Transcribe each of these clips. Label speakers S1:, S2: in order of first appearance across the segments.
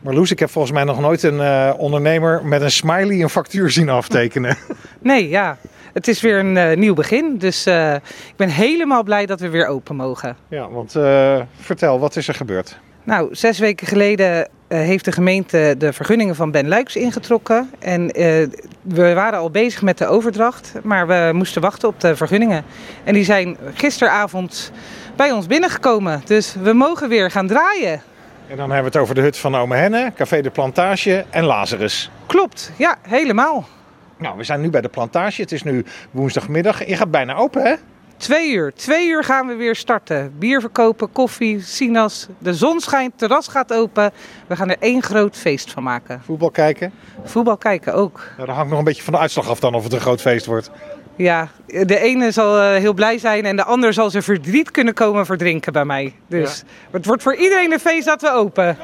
S1: Maar Loes, ik heb volgens mij nog nooit een eh, ondernemer met een smiley een factuur zien aftekenen.
S2: Nee, ja. Het is weer een eh, nieuw begin. Dus eh, ik ben helemaal blij dat we weer open mogen.
S1: ja, want eh, vertel, wat is er gebeurd?
S2: Nou, zes weken geleden eh, heeft de gemeente de vergunningen van Ben Luiks ingetrokken. En eh, we waren al bezig met de overdracht, maar we moesten wachten op de vergunningen. En die zijn gisteravond bij ons binnengekomen. Dus we mogen weer gaan draaien.
S1: En dan hebben we het over de hut van Ome Henne, Café de Plantage en Lazarus.
S2: Klopt, ja, helemaal.
S1: Nou, we zijn nu bij de plantage. Het is nu woensdagmiddag. Je gaat bijna open, hè?
S2: Twee uur. Twee uur gaan we weer starten. Bier verkopen, koffie, sinaas. De zon schijnt, terras gaat open. We gaan er één groot feest van maken.
S1: Voetbal kijken.
S2: Voetbal kijken ook.
S1: Nou, dat hangt nog een beetje van de uitslag af dan of het een groot feest wordt.
S2: Ja, de ene zal eh, heel blij zijn en de ander zal zijn verdriet kunnen komen verdrinken bij mij. Dus het wordt voor iedereen een feest dat we open.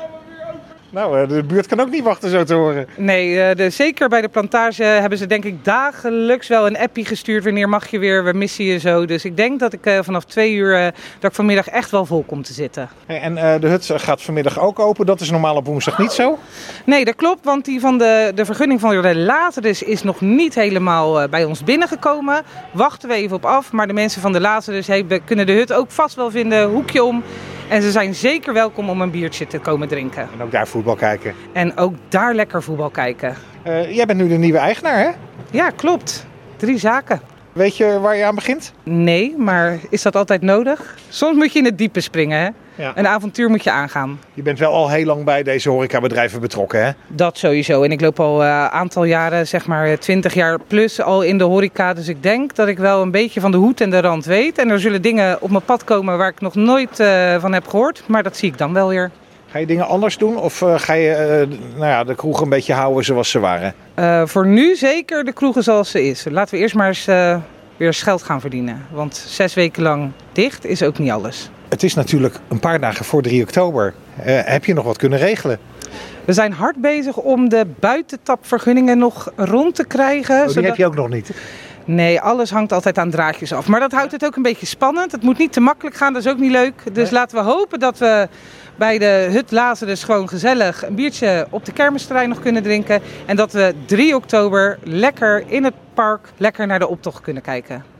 S1: Nou, eh, de buurt kan ook niet wachten zo te horen.
S2: Nee, eh, de, zeker bij de plantage hebben ze denk ik dagelijks wel een appie gestuurd. Wanneer mag je weer, we missen je zo. Dus ik denk dat ik eh, vanaf twee uur, eh, dat ik vanmiddag echt wel vol kom te zitten.
S1: Hey, En eh, de hut gaat vanmiddag ook open. Dat is normaal op woensdag niet zo.
S2: Nee, dat klopt, want die van de, de vergunning van de Lazarus is nog niet helemaal eh, bij ons binnengekomen. Wachten we even op af, maar de mensen van de Lazarus hebben, kunnen de hut ook vast wel vinden, hoekje om. En ze zijn zeker welkom om een biertje te komen drinken.
S1: En ook daar voetbal kijken.
S2: En ook daar lekker voetbal kijken.
S1: Eh, jij bent nu de nieuwe eigenaar, hè?
S2: Ja, klopt. Drie zaken.
S1: Weet je waar je aan begint?
S2: Nee, maar is dat altijd nodig? Soms moet je in het diepe springen, hè?
S1: Ja.
S2: Een avontuur moet je aangaan.
S1: Je bent wel al heel lang bij deze horecabedrijven betrokken, hè?
S2: Dat sowieso. En ik loop al een aantal jaren, zeg maar 20 jaar plus, al in de horeca. Dus ik denk dat ik wel een beetje van de hoed en de rand weet. En er zullen dingen op mijn pad komen waar ik nog nooit eh, van heb gehoord. Maar dat zie ik dan wel weer.
S1: Ga je dingen anders doen of eh, ga je eh, d- nou ja, de kroeg een beetje houden zoals ze waren?
S2: Eh, voor nu zeker de kroegen zoals ze is. Laten we eerst maar eens eh, weer eens geld gaan verdienen. Want zes weken lang dicht is ook niet alles.
S1: Het is natuurlijk een paar dagen voor 3 oktober. Eh, heb je nog wat kunnen regelen?
S2: We zijn hard bezig om de buitentapvergunningen nog rond te krijgen.
S1: Oh, die
S2: zodat-
S1: heb je ook nog niet.
S2: Nee, alles hangt altijd aan draadjes af. Maar dat houdt het ook een beetje spannend. Het moet niet te makkelijk gaan, dat is ook niet leuk. Dus
S1: Nee.
S2: laten we hopen dat we bij de Hut Lazarus gewoon gezellig een biertje op de kermisterrein nog kunnen drinken. En dat we 3 oktober lekker in het park lekker naar de optocht kunnen kijken.